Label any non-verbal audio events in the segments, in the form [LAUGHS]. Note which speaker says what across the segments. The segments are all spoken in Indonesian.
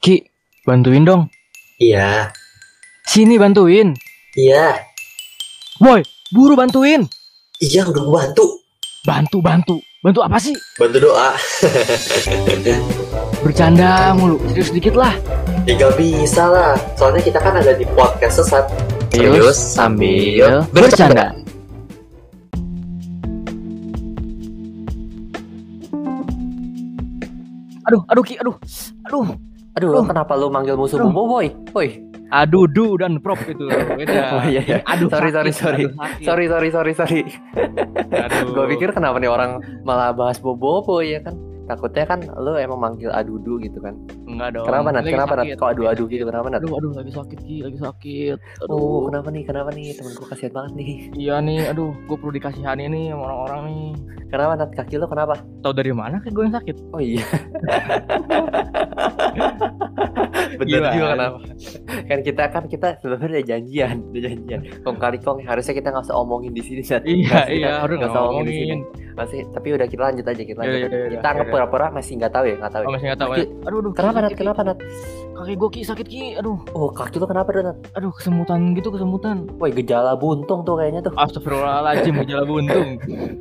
Speaker 1: Ki, bantuin dong.
Speaker 2: Iya,
Speaker 1: Sini bantuin.
Speaker 2: iya,
Speaker 1: Woi, buru bantuin.
Speaker 2: iya udah gua bantu.
Speaker 1: Bantu, bantu. Bantu apa sih?
Speaker 2: Bantu
Speaker 3: [LAUGHS]
Speaker 2: doa.
Speaker 1: Bercanda mulu. Serius dikit lah.
Speaker 2: Ya gak bisa lah, soalnya kita kan ada di podcast sesat.
Speaker 1: Serius
Speaker 3: Iya.
Speaker 1: sambil bercanda. Aduh, aduh Ki, aduh. Aduh.
Speaker 3: Aduh,
Speaker 1: Aduh.
Speaker 3: kenapa lu manggil musuh
Speaker 1: Aduh.
Speaker 3: bobo boy? Woi.
Speaker 1: Aduh, du dan prop gitu. [LAUGHS] Beda.
Speaker 3: Oh, iya, iya.
Speaker 1: Aduh,
Speaker 3: Sorry,
Speaker 1: sakit,
Speaker 3: sorry, sorry.
Speaker 1: aduh, sakit.
Speaker 3: Sorry, sorry, sorry, sorry.
Speaker 1: Aduh.
Speaker 3: Gue pikir kenapa nih orang malah bahas bobo boy ya kan? Takutnya kan lu emang manggil adudu gitu kan.
Speaker 1: enggak dong.
Speaker 3: Kenapa Nat?
Speaker 1: Oh, Lagi
Speaker 3: Kenapa Nat?
Speaker 1: sakit.
Speaker 3: Kok adu-adu gitu? Kenapa Nat?
Speaker 1: Aduh, aduh, lagi sakit Ki, lagi sakit. Aduh.
Speaker 3: Oh, kenapa nih? Kenapa nih? Temen gue kasihan banget nih.
Speaker 1: Iya nih, aduh, gue perlu dikasihani nih sama orang-orang nih.
Speaker 3: Kenapa Nat? Kaki lu kenapa?
Speaker 1: Tahu dari mana kan gue yang sakit?
Speaker 3: Oh
Speaker 1: [LAUGHS]
Speaker 3: iya.
Speaker 1: Gila.
Speaker 3: Bener juga kenapa? Kan kita kan kita sebenarnya udah janjian, udah janjian. Kong kali kong harusnya kita nggak usah omongin di sini Nat.
Speaker 1: Iya,
Speaker 3: Harusnya
Speaker 1: iya, harus
Speaker 3: nggak
Speaker 1: nggak
Speaker 3: usah
Speaker 1: ngomongin. Iya,
Speaker 3: omongin di sini. masih tapi udah kita lanjut aja kita
Speaker 1: Yaudah,
Speaker 3: lanjut aja.
Speaker 1: yaudah,
Speaker 3: kita
Speaker 1: yaudah.
Speaker 3: anggap pura-pura masih nggak tahu ya nggak tahu
Speaker 1: Oh,
Speaker 3: ya.
Speaker 1: masih nggak tahu ya.
Speaker 3: Ki,
Speaker 1: Aduh, aduh.
Speaker 3: kenapa
Speaker 1: sakit,
Speaker 3: nat
Speaker 1: Ki.
Speaker 3: kenapa nat
Speaker 1: Kaki gue ki sakit ki. Aduh,
Speaker 3: oh kaki lo kenapa tuh nat
Speaker 1: aduh kesemutan gitu kesemutan.
Speaker 3: woi gejala buntung tuh kayaknya tuh [LAUGHS]
Speaker 1: Astagfirullahaladzim gejala buntung. Enggak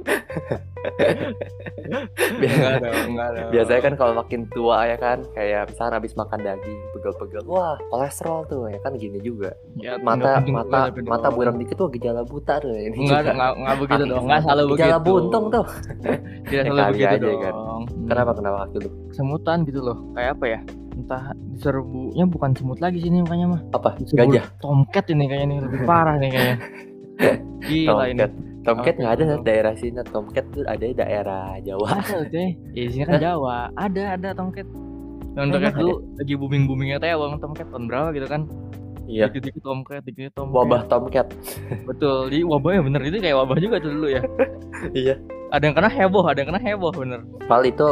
Speaker 3: Biasa-
Speaker 1: ada, enggak ada.
Speaker 3: biasanya kan kalau makin tua ya kan kayak misalnya habis makan daging pegel-pegel wah kolesterol tuh ya kan gini juga
Speaker 1: Ya,
Speaker 3: mata
Speaker 1: nggak penting,
Speaker 3: mata
Speaker 1: nggak penting
Speaker 3: mata
Speaker 1: dong.
Speaker 3: buram dikit tuh gejala buta tuh ya, ini
Speaker 1: Enggak ada,
Speaker 3: juga.
Speaker 1: enggak enggak begitu
Speaker 3: Kaki
Speaker 1: dong. Enggak selalu begitu. Hmm.
Speaker 3: gejala buntung tuh
Speaker 1: Tidak
Speaker 3: Ya,
Speaker 1: selalu
Speaker 3: kali
Speaker 1: begitu
Speaker 3: aja
Speaker 1: dong.
Speaker 3: kan.
Speaker 1: Hmm.
Speaker 3: kenapa kenapa kaki lu
Speaker 1: Kesemutan gitu loh. Kayak apa ya? Entah serbunya bukan semut lagi sini makanya mah.
Speaker 3: apa
Speaker 1: Disebut
Speaker 3: gajah
Speaker 1: Tomcat ini kayaknya nih lebih parah nih
Speaker 3: [LAUGHS]
Speaker 1: kayaknya. Gila ini. Oh,
Speaker 3: tomcat tomcat
Speaker 1: Apa
Speaker 3: nggak ada
Speaker 1: itu?
Speaker 3: Nat, daerah sini Nat. tomcat tuh ada di daerah
Speaker 1: [LAUGHS]
Speaker 3: jawa
Speaker 1: Masa deh. Ya isinya kan Jawa. Ada ada Tomcat. Yang Tomcat
Speaker 3: Emang
Speaker 1: dulu lagi booming boomingnya teh abang Tomcat tahun berapa gitu kan?
Speaker 3: iya
Speaker 1: Dikit dikit Tomcat, dikit dikit Tomcat.
Speaker 3: wabah tomcat
Speaker 1: Betul. Jadi wabahnya bener itu kayak wabah juga tuh dulu ya.
Speaker 3: Iya.
Speaker 1: Ada yang kena heboh, ada yang kena heboh bener.
Speaker 3: Pal itu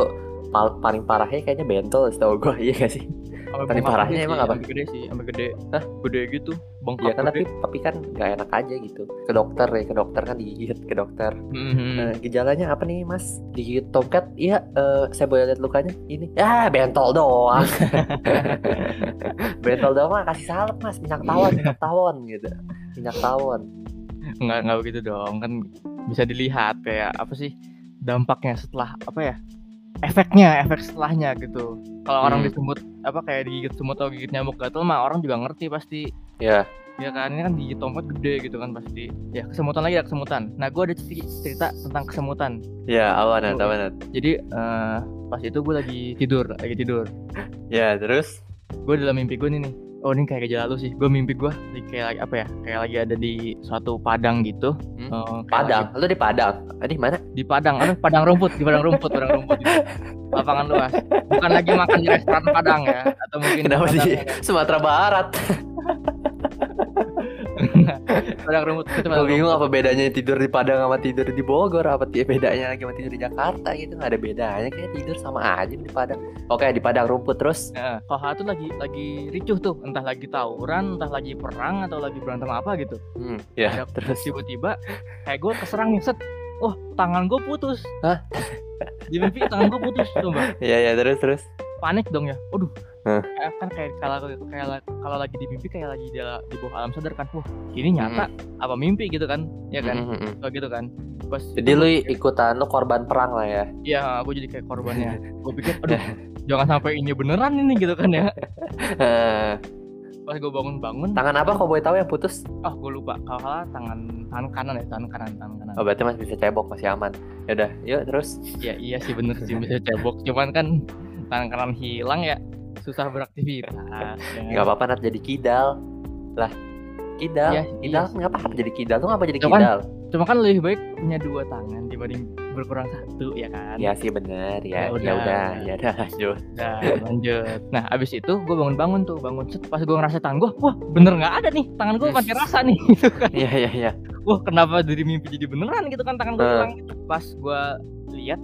Speaker 3: pal- paling parahnya kayaknya bentol setahu gua [LAUGHS] iya gak sih
Speaker 1: Sampai
Speaker 3: Tadi
Speaker 1: bengkak
Speaker 3: parahnya
Speaker 1: gede
Speaker 3: emang
Speaker 1: sih,
Speaker 3: apa?
Speaker 1: Sampai gede sih, sampai gede.
Speaker 3: Hah?
Speaker 1: Gede gitu. Bengkak
Speaker 3: Iya kan
Speaker 1: gede.
Speaker 3: tapi tapi kan nggak enak aja gitu ke dokter ya ke dokter kan digigit ke dokter
Speaker 1: Mhm.
Speaker 3: Eh, gejalanya apa nih mas digigit tomcat iya eh, saya boleh lihat lukanya ini ya bentol doang [LAUGHS] bentol doang mah kasih salep mas minyak tawon minyak tawon gitu minyak tawon
Speaker 1: nggak nggak begitu dong kan bisa dilihat kayak apa sih dampaknya setelah apa ya efeknya efek setelahnya gitu kalau orang
Speaker 3: Hmm.
Speaker 1: disemut apa kayak digigit semut atau gigit nyamuk gatel mah orang juga ngerti pasti
Speaker 3: ya
Speaker 1: ya kan ini kan gigit tomat gede gitu kan pasti ya kesemutan lagi ya kesemutan nah gue ada cerita, cerita tentang kesemutan
Speaker 3: ya awan
Speaker 1: Nat, awan, jadi eh, pas itu gue lagi tidur lagi tidur
Speaker 3: ya terus
Speaker 1: gue dalam mimpi gue nih nih oh ini kayak gejala lu sih gue mimpi gue kayak lagi apa ya kayak lagi ada di suatu padang gitu
Speaker 3: Hmm?
Speaker 1: Eh, kayak lagi
Speaker 3: Padang, lu di Padang. Ah, Di mana?
Speaker 1: di padang aduh padang rumput di padang rumput padang rumput gitu. lapangan luas bukan lagi makan di restoran padang ya atau mungkin di
Speaker 3: Kenapa
Speaker 1: padang,
Speaker 3: di Sumatera Barat?
Speaker 1: padang rumput itu
Speaker 3: Gue
Speaker 1: padang
Speaker 3: bingung
Speaker 1: rumput.
Speaker 3: apa bedanya tidur di Padang sama tidur di Bogor apa ti- bedanya lagi sama tidur di Jakarta gitu nggak ada bedanya kayak tidur sama aja di Padang. Oke di Padang rumput terus.
Speaker 1: Nah, Koha tuh lagi lagi ricuh tuh entah lagi tawuran entah lagi perang atau lagi berantem apa gitu
Speaker 3: Hmm, ya [LAUGHS]
Speaker 1: Ada- tiba-tiba kayak gue keserang nih set oh tangan gue putus
Speaker 3: Hah?
Speaker 1: di mimpi tangan gue putus coba
Speaker 3: ya ya terus terus.
Speaker 1: panik dong ya aduh
Speaker 3: Hah.
Speaker 1: Kayak- kan kayak kalau kayak kalau lagi di mimpi kayak lagi di, di bawah alam sadar kan wah ini nyata apa mimpi gitu kan ya kan
Speaker 3: Mm, mm, mm.
Speaker 1: Kayak gitu kan pas
Speaker 3: Jadi lu
Speaker 1: iya.
Speaker 3: ikutan lu korban perang lah ya.
Speaker 1: ya gue jadi kayak korbannya gue
Speaker 3: [LAUGHS]
Speaker 1: pikir aduh jangan sampai ini beneran ini gitu kan ya
Speaker 3: Eh,
Speaker 1: pas gue bangun bangun
Speaker 3: Tangan apa kok boleh tahu yang putus?
Speaker 1: ah gue lupa kalau salah tangan tangan kanan ya tangan kanan tangan kanan
Speaker 3: Oh, berarti masih bisa cebok masih aman. Ya udah, yuk terus.
Speaker 1: ya iya sih bener sih bisa cebok cuman kan tangan kanan hilang ya susah beraktivitas
Speaker 3: Gak
Speaker 1: ya.
Speaker 3: apa-apa Nat jadi kidal lah. Kidal,
Speaker 1: Iya,
Speaker 3: kidal
Speaker 1: iya.
Speaker 3: ngapa jadi kidal? Lu ngapa jadi
Speaker 1: Apaan?
Speaker 3: kidal?
Speaker 1: cuma kan lebih baik punya dua tangan dibanding berkurang satu ya kan
Speaker 3: Ya sih bener
Speaker 1: Ya
Speaker 3: ya. Ya
Speaker 1: udah.
Speaker 3: udah, ya udah lanjut. [LAUGHS]
Speaker 1: Nah, lanjut. Nah, abis itu gue bangun-bangun tuh, bangun. Set, pas gue ngerasa tangan gue, wah bener nggak ada nih. Tangan gue masih rasa nih, [LAUGHS] gitu kan.
Speaker 3: Iya iya iya.
Speaker 1: Wah, kenapa dari mimpi jadi beneran gitu kan tangan gue
Speaker 3: Eh.
Speaker 1: hilang. gitu. Pas gue lihat,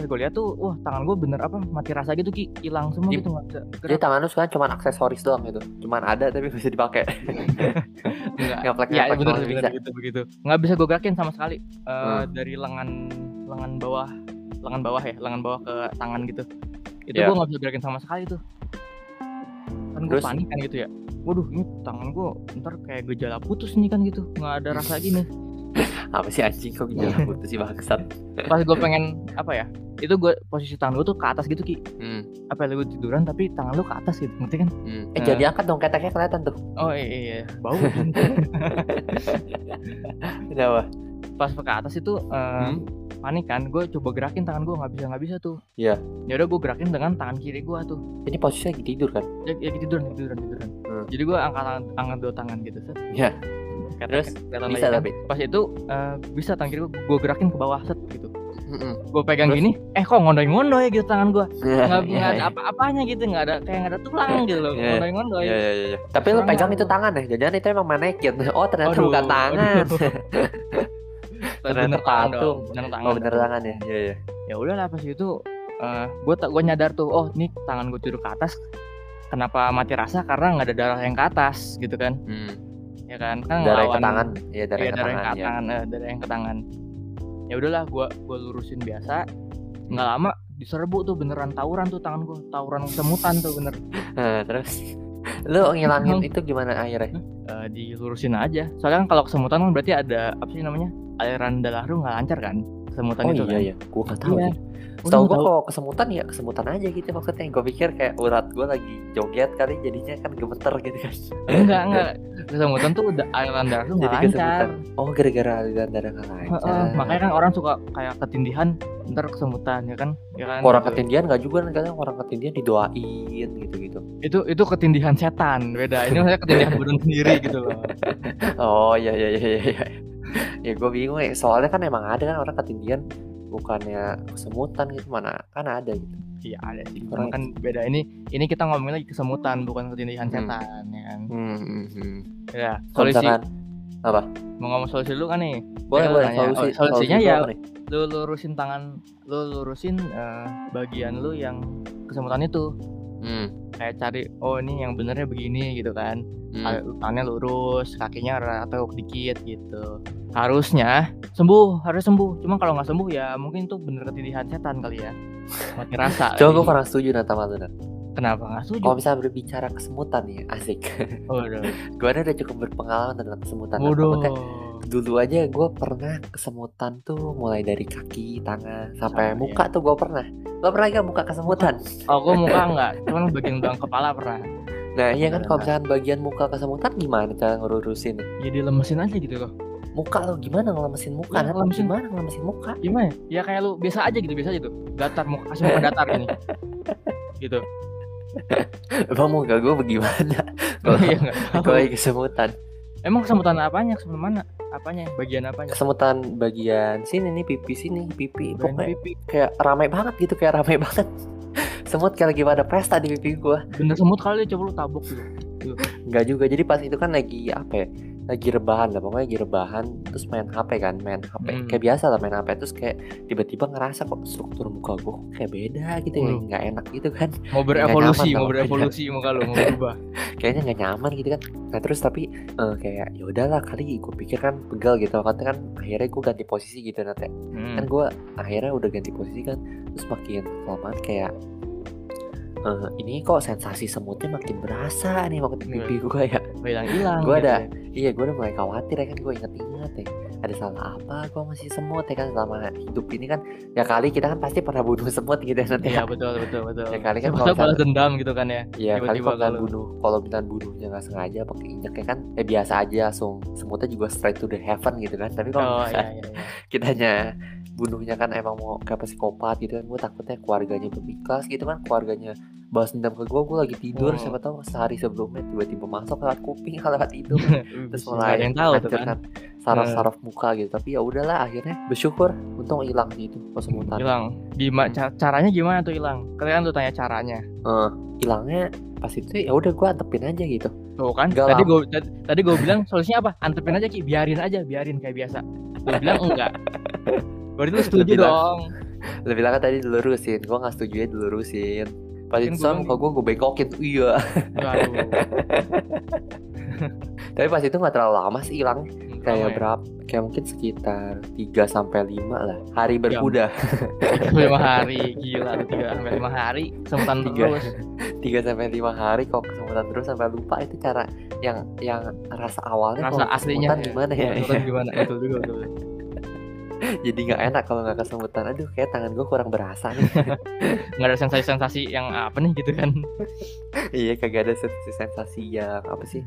Speaker 1: pas gue lihat tuh, wah tangan gue bener apa mati rasa gitu ki hilang semua
Speaker 3: Di- Iya,
Speaker 1: gitu nggak bisa
Speaker 3: Jadi
Speaker 1: gerak.
Speaker 3: tangan lu sekarang cuma aksesoris doang gitu. Cuman ada tapi bisa dipakai.
Speaker 1: [LAUGHS] Nggak.
Speaker 3: Ngeplek
Speaker 1: [LAUGHS] Ya,
Speaker 3: ngeplek
Speaker 1: bener,
Speaker 3: doang
Speaker 1: bener
Speaker 3: bisa.
Speaker 1: begitu begitu. Nggak bisa gue gerakin sama sekali Eh,
Speaker 3: Hmm.
Speaker 1: dari lengan lengan bawah lengan bawah ya lengan bawah ke tangan gitu itu
Speaker 3: Ya.
Speaker 1: gue nggak bisa gerakin sama sekali tuh kan gue
Speaker 3: Terus?
Speaker 1: panik kan gitu ya waduh ini tangan gue ntar kayak gejala putus nih kan gitu nggak ada rasa gini
Speaker 3: apa sih anjing kok
Speaker 1: Iya.
Speaker 3: gejala putus sih bangsat
Speaker 1: pas gue pengen apa ya itu gue posisi tangan gue tuh ke atas gitu ki
Speaker 3: hmm,
Speaker 1: apa lu tiduran tapi tangan lu ke atas gitu ngerti kan
Speaker 3: hmm. eh
Speaker 1: Eh.
Speaker 3: jadi angkat dong keteknya kelihatan tuh
Speaker 1: oh iya, iya. bau
Speaker 3: gitu. kenapa
Speaker 1: [LAUGHS] pas ke atas itu eh,
Speaker 3: Hmm?
Speaker 1: panik kan gue coba gerakin tangan gue nggak bisa nggak bisa tuh
Speaker 3: Iya.
Speaker 1: ya udah gue gerakin dengan tangan kiri gue tuh
Speaker 3: ini posisinya lagi tidur kan
Speaker 1: ya, ya tiduran tiduran tiduran
Speaker 3: Hmm.
Speaker 1: jadi gue angkat tangan angkat dua tangan gitu set.
Speaker 3: Iya.
Speaker 1: Kata-
Speaker 3: Terus?
Speaker 1: kata
Speaker 3: Bisa
Speaker 1: lagi kan,
Speaker 3: tapi?
Speaker 1: pas itu eh, bisa tangan kiri gue gerakin ke bawah set gitu
Speaker 3: Heeh.
Speaker 1: gue pegang
Speaker 3: Terus?
Speaker 1: gini eh kok ngondoy ngondoy gitu tangan
Speaker 3: [LAUGHS]
Speaker 1: gue nggak nggak ada
Speaker 3: Iya,
Speaker 1: apa-apanya gitu nggak ada kayak nggak ada tulang gitu loh
Speaker 3: Iya.
Speaker 1: ngondoy ngondoy
Speaker 3: iya, iya, iya. Tapi lu
Speaker 1: Serem
Speaker 3: pegang
Speaker 1: banget.
Speaker 3: itu tangan ya? Jangan itu emang manekin. [LAUGHS] Oh, ternyata
Speaker 1: Aduh,
Speaker 3: bukan tangan.
Speaker 1: aduh.
Speaker 3: Ternyata patung.
Speaker 1: bener tangan
Speaker 3: [LAUGHS] Oh, bener tangan ya? Iya, iya.
Speaker 1: ya udah lah pas itu eh, gue tak gue nyadar tuh oh nih tangan gue tidur ke atas kenapa mati rasa karena nggak ada darah yang ke atas gitu kan
Speaker 3: Hmm.
Speaker 1: ya kan kan
Speaker 3: Darah yang ke
Speaker 1: ngelawan-
Speaker 3: tangan. Iya, darah
Speaker 1: Iya,
Speaker 3: yang ke
Speaker 1: darah yang ke
Speaker 3: tangan. iya. [LAUGHS]
Speaker 1: tangan eh, darah yang ke tangan ya udahlah gue gue lurusin biasa nggak lama diserbu tuh beneran tawuran tuh tangan gue tawuran semutan tuh bener
Speaker 3: Nah, terus lu ngilangin
Speaker 1: Emang-
Speaker 3: itu gimana akhirnya?
Speaker 1: Eh, dilurusin aja soalnya kan kalau kesemutan kan berarti ada apa sih namanya aliran darah lu nggak lancar kan kesemutan
Speaker 3: Oh
Speaker 1: itu kan
Speaker 3: iya ya, gua nggak tahu
Speaker 1: Iya.
Speaker 3: sih.
Speaker 1: Lu
Speaker 3: Setahu gua
Speaker 1: tahu.
Speaker 3: kalau kesemutan ya kesemutan aja gitu maksudnya. Gua pikir kayak urat gua lagi joget kali jadinya kan gemeter gitu kan. [LAUGHS]
Speaker 1: enggak enggak kesemutan tuh udah aliran darah lu nggak
Speaker 3: Jadi
Speaker 1: lancar
Speaker 3: kesemutan. Oh, gara-gara aliran darah nggak
Speaker 1: Heeh,
Speaker 3: lancar.
Speaker 1: makanya kan orang suka kayak ketindihan ntar kesemutan ya kan ya kan
Speaker 3: orang
Speaker 1: gitu.
Speaker 3: ketindian nggak juga kadang orang ketindian didoain gitu-gitu.
Speaker 1: itu itu ketindihan setan beda ini maksudnya ketindihan badan sendiri gitu loh
Speaker 3: Oh iya iya iya iya. ya gue bingung ya. Soalnya kan emang ada kan orang ketindihan bukannya kesemutan gitu mana kan ada gitu.
Speaker 1: iya ada sih
Speaker 3: Orang-
Speaker 1: Cuma kan beda ini ini kita ngomongin lagi kesemutan bukan ketindihan
Speaker 3: Hmm.
Speaker 1: setan ya kan
Speaker 3: Hmm, hmm.
Speaker 1: ya
Speaker 3: Kalau
Speaker 1: solusi
Speaker 3: misalkan
Speaker 1: mau ngomong solusi dulu kan nih
Speaker 3: boleh
Speaker 1: Ya,
Speaker 3: boleh
Speaker 1: tanya.
Speaker 3: solusi,
Speaker 1: Oh, solusinya ya-
Speaker 3: apa nih?
Speaker 1: lu lurusin tangan lu lurusin eh, bagian lu yang kesemutan itu
Speaker 3: Hmm,
Speaker 1: kayak cari oh ini yang benernya begini gitu kan
Speaker 3: hmm.
Speaker 1: Ah, tangannya lurus kakinya rata dikit gitu harusnya sembuh harus sembuh cuma kalau nggak sembuh ya mungkin tuh bener ketindihan setan kali ya mati rasa
Speaker 3: [LAUGHS] Coba Oh, gue kurang setuju Nata sama lu, Nat.
Speaker 1: kenapa nggak setuju
Speaker 3: Kalau misalnya berbicara kesemutan ya asik. [LAUGHS]
Speaker 1: waduh
Speaker 3: gue udah cukup berpengalaman tentang kesemutan. Nat.
Speaker 1: waduh
Speaker 3: Maksudnya, Dulu aja gue pernah kesemutan tuh mulai dari kaki, tangan,
Speaker 1: Sama,
Speaker 3: sampai
Speaker 1: iya.
Speaker 3: muka tuh gue pernah. Lo pernah gak muka
Speaker 1: [LAUGHS]
Speaker 3: kesemutan?
Speaker 1: oh gue muka nggak cuman bagian belakang kepala pernah
Speaker 3: Nah iya kan
Speaker 1: Pernah.
Speaker 3: kalau misalkan bagian muka kesemutan gimana cara ngurusin?
Speaker 1: ya dilemesin aja gitu loh
Speaker 3: muka lo gimana ngelemesin muka
Speaker 1: Iya,
Speaker 3: Nat?
Speaker 1: ngelemesin.
Speaker 3: gimana ngelemesin muka
Speaker 1: gimana ya? ya kayak lu biasa aja gitu biasa aja tuh datar muka kasih muka datar
Speaker 3: [LAUGHS]
Speaker 1: gini gitu
Speaker 3: bang muka gue [LAUGHS] bagaimana
Speaker 1: Iya, nggak
Speaker 3: gue
Speaker 1: tahu.
Speaker 3: lagi kesemutan
Speaker 1: emang kesemutan apanya kesemutan mana apanya bagian apanya
Speaker 3: kesemutan bagian sini nih pipi sini pipi
Speaker 1: Bagian
Speaker 3: pokoknya
Speaker 1: pipi
Speaker 3: kayak ramai banget gitu kayak ramai banget [LAUGHS] semut kayak lagi pada pesta di pipi gue
Speaker 1: bener semut kali coba lu tabok gitu
Speaker 3: nggak juga jadi pas itu kan lagi apa ya lagi rebahan lah pokoknya lagi rebahan terus main HP kan main HP
Speaker 1: Hmm.
Speaker 3: kayak biasa lah main HP terus kayak tiba-tiba ngerasa kok struktur muka gue kayak beda gitu ya
Speaker 1: Waduh.
Speaker 3: nggak enak gitu kan
Speaker 1: mau
Speaker 3: Nggak
Speaker 1: berevolusi
Speaker 3: nyaman
Speaker 1: mau
Speaker 3: sama [LAUGHS]
Speaker 1: berevolusi muka lu mau berubah
Speaker 3: kayaknya nggak nyaman gitu kan nah terus tapi eh, kayak ya udahlah kali gue pikir kan pegal gitu katanya kan akhirnya gue ganti posisi gitu nanti
Speaker 1: Hmm.
Speaker 3: kan gue akhirnya udah ganti posisi kan terus makin kelamaan kayak eh, ini kok sensasi semutnya makin berasa nih waktu
Speaker 1: Iya.
Speaker 3: pipi gue ya
Speaker 1: hilang hilang gitu ya.
Speaker 3: Gua ada. iya gue udah mulai khawatir ya kan gue inget-inget ya ada salah apa gue masih semut ya kan selama hidup ini kan ya kali kita kan pasti pernah bunuh semut gitu ya nanti
Speaker 1: iya
Speaker 3: ya
Speaker 1: betul betul betul
Speaker 3: Ya, kali kan
Speaker 1: Siapa
Speaker 3: kalau
Speaker 1: tahu balas
Speaker 3: misalnya-
Speaker 1: dendam gitu kan ya
Speaker 3: Iya kan
Speaker 1: Tiba-tiba
Speaker 3: kalau misalkan
Speaker 1: kalau-
Speaker 3: bunuh kalau misalkan bunuhnya nggak sengaja pakai injek ya kan ya biasa aja langsung semutnya juga straight to the heaven gitu kan tapi kalau
Speaker 1: oh iya
Speaker 3: misalkan
Speaker 1: iya iya.
Speaker 3: [LAUGHS] kitanya bunuhnya kan emang mau kayak psikopat gitu kan gue takutnya keluarganya berbikas gitu kan keluarganya balas dendam ke gue gue lagi tidur
Speaker 1: Oh.
Speaker 3: siapa tahu sehari sebelumnya tiba-tiba masuk lewat kuping [LAUGHS] lewat hidung terus
Speaker 1: Bisa, nggak
Speaker 3: mulai
Speaker 1: Iya, ada yang tahu tuh
Speaker 3: hancur
Speaker 1: kan Eh.
Speaker 3: kan saraf-saraf muka gitu tapi ya udahlah akhirnya bersyukur untung hilang sih itu kesemutan
Speaker 1: hilang gimana caranya gimana tuh hilang kalian tuh tanya caranya
Speaker 3: Eh, hilangnya pas itu ya udah gue antepin aja gitu
Speaker 1: Tuh kan
Speaker 3: Nggak
Speaker 1: tadi
Speaker 3: lama.
Speaker 1: gue tadi gue bilang solusinya apa? Antepin aja Ki, biarin aja, biarin kayak biasa. Gue bilang enggak. Berarti lu setuju
Speaker 3: Lebih
Speaker 1: dong.
Speaker 3: Lebih bilang kan tadi dilurusin, gue gak setuju ya dilurusin Pas
Speaker 1: Kan
Speaker 3: itu
Speaker 1: gua
Speaker 3: sama
Speaker 1: bilang-
Speaker 3: kalau gue, gue bengkokin, iya [LAUGHS]
Speaker 1: Aduh.
Speaker 3: Tapi pas itu gak terlalu lama sih hilang kayak
Speaker 1: ya?
Speaker 3: berapa? Kayak mungkin sekitar 3 sampai 5 lah. Hari berkuda. [LAUGHS]
Speaker 1: lima hari gila lu tiga sampai lima hari semutan
Speaker 3: Tiga.
Speaker 1: terus
Speaker 3: 3 sampai 5 hari kok kesemutan terus sampai lupa itu cara yang yang rasa awalnya
Speaker 1: rasa
Speaker 3: kalau
Speaker 1: aslinya Iya.
Speaker 3: kesemutan gimana ya?
Speaker 1: Kesemutan gimana betul juga betul
Speaker 3: [LAUGHS] Jadi nggak enak kalau nggak kesemutan. Aduh, kayak tangan gue kurang berasa nih.
Speaker 1: [LAUGHS]
Speaker 3: [LAUGHS]
Speaker 1: nggak ada sensasi-sensasi yang apa nih gitu kan
Speaker 3: iya, kagak ada sensasi sensasi yang apa sih?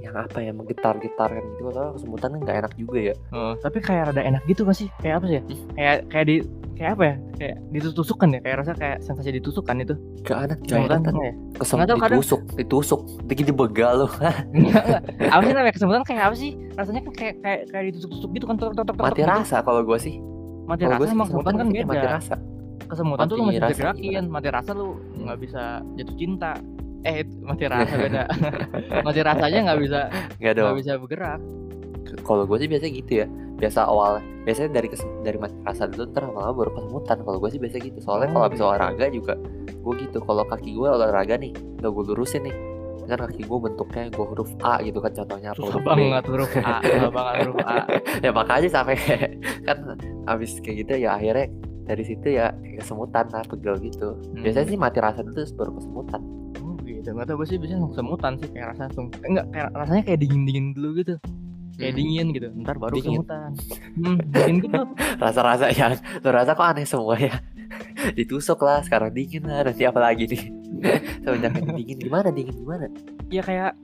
Speaker 3: Yang apa ya menggetar-getar kan gitu. Kalau kesemutan kan nggak enak juga ya.
Speaker 1: Heeh. tapi kayak rada enak gitu gak sih kayak apa sih ya? kayak kayak di kayak apa ya kayak ditusukan ya kayak rasa kayak sensasi ditusukan itu
Speaker 3: Gak enak, gak
Speaker 1: Kesemutan
Speaker 3: enak.
Speaker 1: apa ya
Speaker 3: Kesemutan
Speaker 1: Nggak tahu, kadang-
Speaker 3: ditusuk, ditusuk, dikit dibegal loh.
Speaker 1: Nggak, nggak. apa sih namanya kesemutan kayak apa sih rasanya kan kayak kayak kayak ditusuk-tusuk gitu kan tok tok tok tok,
Speaker 3: Mati
Speaker 1: gitu.
Speaker 3: rasa kalau gue sih.
Speaker 1: mati
Speaker 3: Kalau
Speaker 1: rasa
Speaker 3: gue sih
Speaker 1: sama
Speaker 3: kesemutan
Speaker 1: kesemutan kan
Speaker 3: maksudnya mati
Speaker 1: beda
Speaker 3: rasa.
Speaker 1: kesemutan tuh lu
Speaker 3: Mati
Speaker 1: masih bisa
Speaker 3: rasa
Speaker 1: gerakin mati rasa lu nggak bisa jatuh cinta eh itu- mati rasa
Speaker 3: [LAUGHS]
Speaker 1: beda mati rasanya nggak bisa
Speaker 3: Gak dong.
Speaker 1: nggak bisa bergerak
Speaker 3: Kalau gue sih biasanya gitu ya. Biasa awal, biasanya dari kesem- dari mati rasa dulu ntar lama-lama baru kesemutan. Kalau gue sih biasa gitu. Soalnya
Speaker 1: Oh,
Speaker 3: kalau habis
Speaker 1: gitu.
Speaker 3: olahraga juga gue gitu. Kalau kaki gue olahraga nih, udah gue lurusin nih. Kan kaki gue bentuknya gue huruf A gitu kan contohnya apa
Speaker 1: susah
Speaker 3: huruf B.
Speaker 1: banget huruf A susah banget huruf A
Speaker 3: ya makanya sampai [LAUGHS] kan habis kayak gitu ya akhirnya dari situ ya kesemutan lah pegel gitu.
Speaker 1: Hmm.
Speaker 3: Biasanya sih mati rasa dulu terus baru kesemutan.
Speaker 1: Oh gitu, gak tau gue sih biasanya langsung semutan sih kayak rasa langsung Enggak, kayak rasanya kayak dingin-dingin dulu gitu Kayak
Speaker 3: Hmm.
Speaker 1: dingin gitu, ntar baru
Speaker 3: Dingin.
Speaker 1: semutan Hmm, dingin gitu
Speaker 3: rasa-rasa yang lu rasa kok aneh semua ya ditusuk lah sekarang dingin lah nanti apa lagi nih [LAUGHS] semenjak ini dingin gimana dingin gimana
Speaker 1: Ya kayak,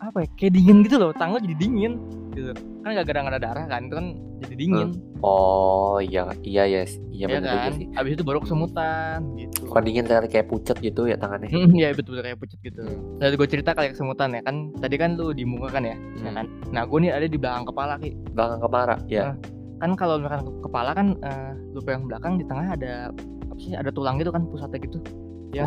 Speaker 1: apa ya, kayak dingin gitu loh, tangan jadi dingin gitu Kan gak gara ada darah kan, itu kan jadi dingin
Speaker 3: oh iya iya yes
Speaker 1: Ya
Speaker 3: iya Hmm, bener juga
Speaker 1: kan,
Speaker 3: sih
Speaker 1: abis itu baru kesemutan gitu
Speaker 3: bukan dingin kayak kayak pucet gitu ya tangannya
Speaker 1: Hmm, ya betul-betul kayak pucet gitu
Speaker 3: Hmm.
Speaker 1: Nah gue cerita kayak kesemutan ya kan, tadi kan lu di muka kan ya,
Speaker 3: Hmm.
Speaker 1: ya kan? Nah gue nih ada di belakang kepala Ki
Speaker 3: Iya belakang kepala ya
Speaker 1: kan kalau misalkan ke- kepala kan eh, lu pegang belakang di tengah ada apa sih ada tulang gitu kan pusatnya gitu ya.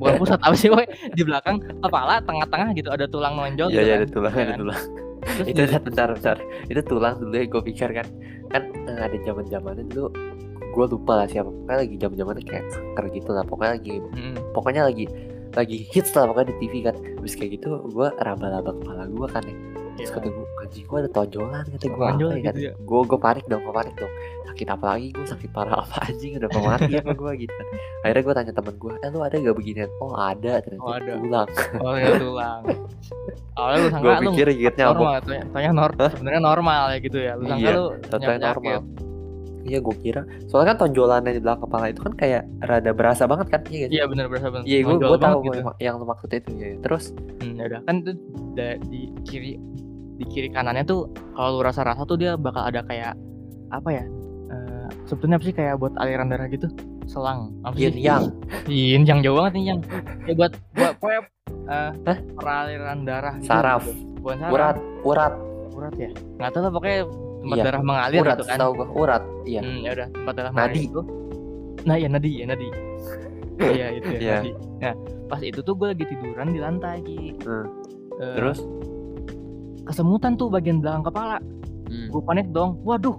Speaker 1: bukan pusat apa sih woy? di belakang kepala tengah-tengah gitu ada tulang menonjol
Speaker 3: Iya
Speaker 1: gitu kan.
Speaker 3: iya ada tulang
Speaker 1: Ya
Speaker 3: ada
Speaker 1: kan?
Speaker 3: tulang
Speaker 1: Terus
Speaker 3: itu [LAUGHS] bentar bentar, bentar. itu tulang dulu ya gue pikir kan kan eh, ada zaman zamannya dulu gue lupa lah siapa pokoknya lagi zaman zamannya kayak kanker gitu lah pokoknya lagi
Speaker 1: Hmm,
Speaker 3: pokoknya lagi lagi hits lah pokoknya di TV kan Terus kayak gitu gue raba-raba kepala gue kan ya
Speaker 1: iya.
Speaker 3: Terus kata gue anjing gue ada tonjolan kata gue
Speaker 1: Tonjol
Speaker 3: apa ya
Speaker 1: gitu ya.
Speaker 3: Gue gue panik dong gue panik dong Sakit apa lagi gue sakit parah apa anjing udah mau mati apa gue gitu Akhirnya gue tanya temen gue eh lu ada gak beginian Oh ada ternyata
Speaker 1: Oh, ada.
Speaker 3: tulang
Speaker 1: oh ada tulang awalnya lu sangka
Speaker 3: Gue
Speaker 1: lu
Speaker 3: pikir gigitnya apa
Speaker 1: normal ya. tanya, tanya nor- sebenarnya normal ya gitu ya lu sangka
Speaker 3: Iya,
Speaker 1: lu punya
Speaker 3: Ternyata
Speaker 1: penyakit.
Speaker 3: normal Iya gue kira Soalnya kan tonjolannya di belakang kepala itu kan kayak rada berasa banget kan Iya gak sih?
Speaker 1: iya bener berasa bener
Speaker 3: Iya gue
Speaker 1: Menonjol
Speaker 3: gue
Speaker 1: banget gitu.
Speaker 3: tahu yang- yang lu maksud itu ya. Terus
Speaker 1: Hmm, ya udah kan itu da- di kiri di kiri kanannya tuh kalau lu rasa-rasa tuh dia bakal ada kayak apa ya? Eh sebetulnya apa sih kayak buat aliran darah gitu? Selang. Apa
Speaker 3: yin
Speaker 1: sih?
Speaker 3: yang
Speaker 1: Yin yang jauh banget nih yang. Ya buat buat
Speaker 3: [LAUGHS]
Speaker 1: pokoknya eh,
Speaker 3: Hah?
Speaker 1: peraliran darah gitu.
Speaker 3: Saraf.
Speaker 1: Bukan saraf.
Speaker 3: urat urat
Speaker 1: Urat ya. Enggak tahu lah pokoknya tempat
Speaker 3: Iya,
Speaker 1: darah mengalir
Speaker 3: urat
Speaker 1: gitu kan.
Speaker 3: tahu gue urat iya
Speaker 1: Hmm, ya udah tempat darah
Speaker 3: Nadi.
Speaker 1: mengalir itu. Nah, ya nadi, ya
Speaker 3: [LAUGHS]
Speaker 1: nadi. Iya itu ya,
Speaker 3: Iya.
Speaker 1: nadi. Nah, pas itu tuh gue lagi tiduran di lantai. Ki.
Speaker 3: Hmm.
Speaker 1: Eh,
Speaker 3: terus
Speaker 1: kesemutan tuh bagian belakang kepala gue panik dong waduh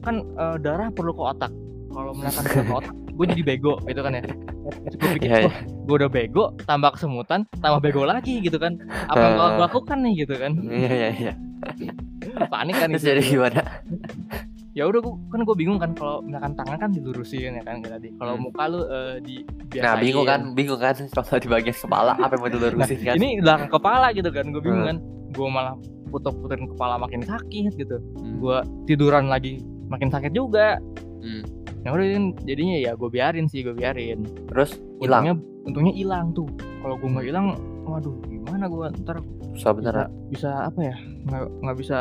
Speaker 1: kan eh, darah perlu ke otak kalau menekan darah ke
Speaker 3: [LAUGHS]
Speaker 1: otak gue jadi bego gitu kan ya gue pikir
Speaker 3: Iya, iya.
Speaker 1: gue udah bego tambah kesemutan tambah bego lagi gitu kan apa yang gue
Speaker 3: Eh.
Speaker 1: lakukan nih gitu kan
Speaker 3: iya iya iya
Speaker 1: panik kan
Speaker 3: terus
Speaker 1: gitu.
Speaker 3: jadi gimana
Speaker 1: ya udah gue kan gue bingung kan kalau misalkan tangan kan dilurusin ya kan kayak tadi kalau
Speaker 3: Hmm.
Speaker 1: muka lu eh, di
Speaker 3: nah
Speaker 1: biasain.
Speaker 3: bingung kan bingung kan kalau di bagian kepala apa
Speaker 1: [LAUGHS]
Speaker 3: yang mau dilurusin kan
Speaker 1: Nah,
Speaker 3: Hmm.
Speaker 1: ini belakang kepala gitu kan gue bingung kan gue malah puter-puterin kepala makin sakit gitu gue tiduran lagi makin sakit juga
Speaker 3: Hmm.
Speaker 1: Nah, udah kan jadinya ya gue biarin sih gue biarin
Speaker 3: terus hilang Hmm.
Speaker 1: untungnya untungnya hilang tuh kalau gue nggak hilang waduh gimana gue ntar
Speaker 3: susah
Speaker 1: bisa,
Speaker 3: bener
Speaker 1: bisa apa ya nggak nggak bisa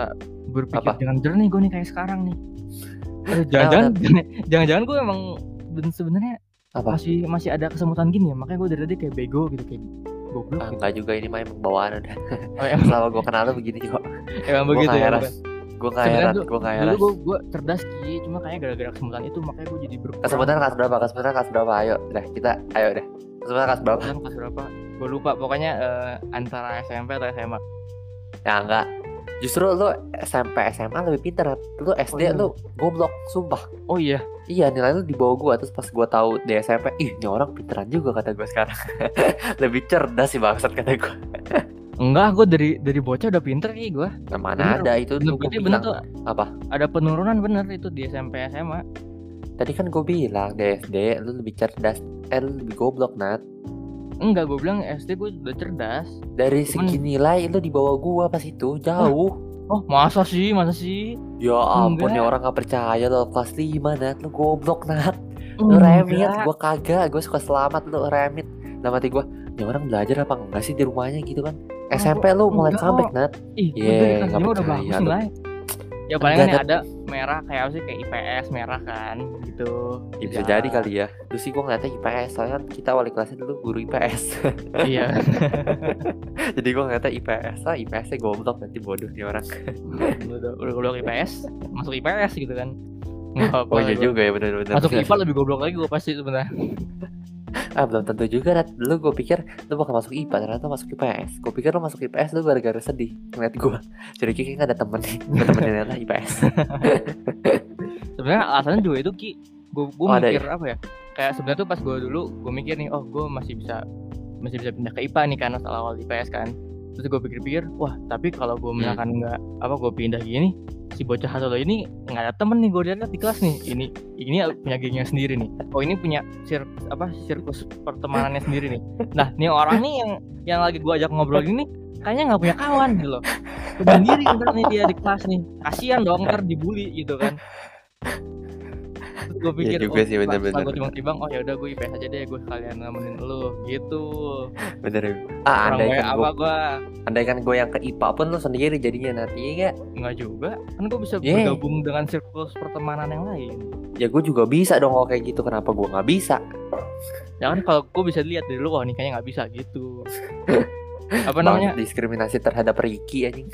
Speaker 1: berpikir
Speaker 3: Apa?
Speaker 1: dengan jernih gue nih kayak sekarang nih
Speaker 3: [LAUGHS]
Speaker 1: Aduh, jangan-jangan [LAUGHS] jangan-jangan gue emang ben- sebenarnya
Speaker 3: Apa?
Speaker 1: masih masih ada kesemutan gini ya makanya gue dari tadi kayak bego gitu kayak goblok
Speaker 3: ah,
Speaker 1: gitu.
Speaker 3: enggak juga ini mah emang bawaan udah
Speaker 1: Oh, emang,
Speaker 3: [LAUGHS] selama gue kenal lu begini kok
Speaker 1: emang
Speaker 3: gue
Speaker 1: begitu
Speaker 3: gak
Speaker 1: ya
Speaker 3: heran
Speaker 1: bukan?
Speaker 3: gue gak
Speaker 1: Sebenarnya
Speaker 3: heran
Speaker 1: tuh,
Speaker 3: gue gak
Speaker 1: dulu
Speaker 3: heran
Speaker 1: gue gue cerdas sih cuma kayaknya gara-gara kesemutan itu makanya gue jadi berkurang
Speaker 3: kesemutan kelas berapa kesemutan kelas berapa ayo dah kita ayo dah kesemutan kelas berapa
Speaker 1: Kesemutan kelas berapa gue lupa pokoknya eh, antara SMP atau SMA
Speaker 3: ya enggak justru lu SMP SMA lebih pintar lu SD
Speaker 1: iya.
Speaker 3: lu goblok sumpah
Speaker 1: oh iya
Speaker 3: Iya nilai lu di bawah gua Terus pas gua tahu di [LAUGHS] SMP Ih ini orang pinteran juga kata gua sekarang Lebih cerdas sih bangsat kata gua
Speaker 1: Enggak, gue dari dari bocah udah pinter sih gue.
Speaker 3: Nah, mana
Speaker 1: Bener.
Speaker 3: ada
Speaker 1: Bener,
Speaker 3: itu dulu gua
Speaker 1: berarti bener
Speaker 3: bilang.
Speaker 1: tuh.
Speaker 3: Apa?
Speaker 1: Ada penurunan bener itu di SMP SMA.
Speaker 3: Tadi kan gue bilang di SD lu lebih cerdas, eh lu lebih goblok Nat.
Speaker 1: Enggak, gue bilang SD gue udah cerdas.
Speaker 3: Dari
Speaker 1: Cuman-
Speaker 3: segi nilai lu di bawah gua pas itu jauh.
Speaker 1: Oh, masa sih, masa sih?
Speaker 3: Ya
Speaker 1: Enggak.
Speaker 3: ampun nih orang gak percaya lo kelas 5 Nat, lu goblok Nat. Lu
Speaker 1: Enggak.
Speaker 3: remit, gua kagak, gua suka selamat lu remit. Dalam hati gua, ya orang belajar apa enggak sih di rumahnya gitu kan. SMP lu mulai
Speaker 1: enggak
Speaker 3: comeback Nat.
Speaker 1: Ih, gue
Speaker 3: Ye,
Speaker 1: dari kelas
Speaker 3: Iya, nggak
Speaker 1: lima udah
Speaker 3: percaya
Speaker 1: bagus
Speaker 3: lu.
Speaker 1: nilai. Ya palingan
Speaker 3: Enggak,
Speaker 1: ada merah kayak apa sih kayak IPS merah kan gitu.
Speaker 3: Ya, bisa
Speaker 1: Ya.
Speaker 3: jadi kali ya. Terus sih gua ngeliatnya IPS, soalnya kan kita wali kelasnya dulu guru IPS.
Speaker 1: Iya.
Speaker 3: [LAUGHS] Jadi gua ngeliatnya IPS lah, IPS-nya goblok nanti bodoh nih orang.
Speaker 1: udah udah keluar IPS, masuk IPS gitu
Speaker 3: [LAUGHS]
Speaker 1: kan. Nggak apa-apa.
Speaker 3: Oh iya
Speaker 1: gua.
Speaker 3: juga ya benar-benar.
Speaker 1: Masuk IPA lebih goblok lagi gue pasti sebenarnya.
Speaker 3: [LAUGHS] Ah belum tentu juga Nat. Dulu gue pikir lu bakal masuk IPA Ternyata masuk IPS Gue pikir lu masuk IPS lu gara-gara sedih Ngeliat gue Jadi kayaknya gak ada temen nih Gak temen ternyata IPS
Speaker 1: Sebenarnya alasannya juga itu Ki. Gue
Speaker 3: Oh, ada
Speaker 1: mikir apa ya? Kayak sebenarnya tuh pas gue dulu gue mikir nih, oh gue masih bisa masih bisa pindah ke IPA nih karena awal awal IPS kan. Terus gue pikir-pikir, wah tapi kalau gue misalkan
Speaker 3: Hmm.
Speaker 1: nggak apa gue pindah gini, si bocah satu ini nggak ada temen nih gue lihat di kelas nih. Ini ini punya gengnya sendiri nih. Oh ini punya sir apa sirkus pertemanannya sendiri nih. Nah ini orang nih yang yang lagi gue ajak ngobrol ini kayaknya nggak punya kawan gitu loh. Gua Sendiri ntar nih dia di kelas nih. Kasihan dong ntar dibully gitu kan. Gue pikir
Speaker 3: Iya
Speaker 1: "Oh,
Speaker 3: juga sih, bener-bener.
Speaker 1: gue cuma timbang oh ya udah gue IPS aja deh gue sekalian nemenin lu gitu.
Speaker 3: Bener ya Ah
Speaker 1: Orang
Speaker 3: andai
Speaker 1: gue
Speaker 3: kan
Speaker 1: apa
Speaker 3: gue
Speaker 1: gue
Speaker 3: Andai kan gue yang ke IPA pun lu sendiri jadinya nanti Iya nggak?
Speaker 1: nggak juga kan gue bisa
Speaker 3: Yeay.
Speaker 1: bergabung dengan sirkus pertemanan yang lain.
Speaker 3: Ya gue juga bisa dong kalau kayak gitu Kenapa gue gak bisa
Speaker 1: Ya kan kalau gue bisa lihat dari lu wah ini kayaknya nggak bisa
Speaker 3: [LAUGHS]
Speaker 1: gitu. apa namanya?
Speaker 3: Banget diskriminasi terhadap Ricky
Speaker 1: [LAUGHS]
Speaker 3: anjing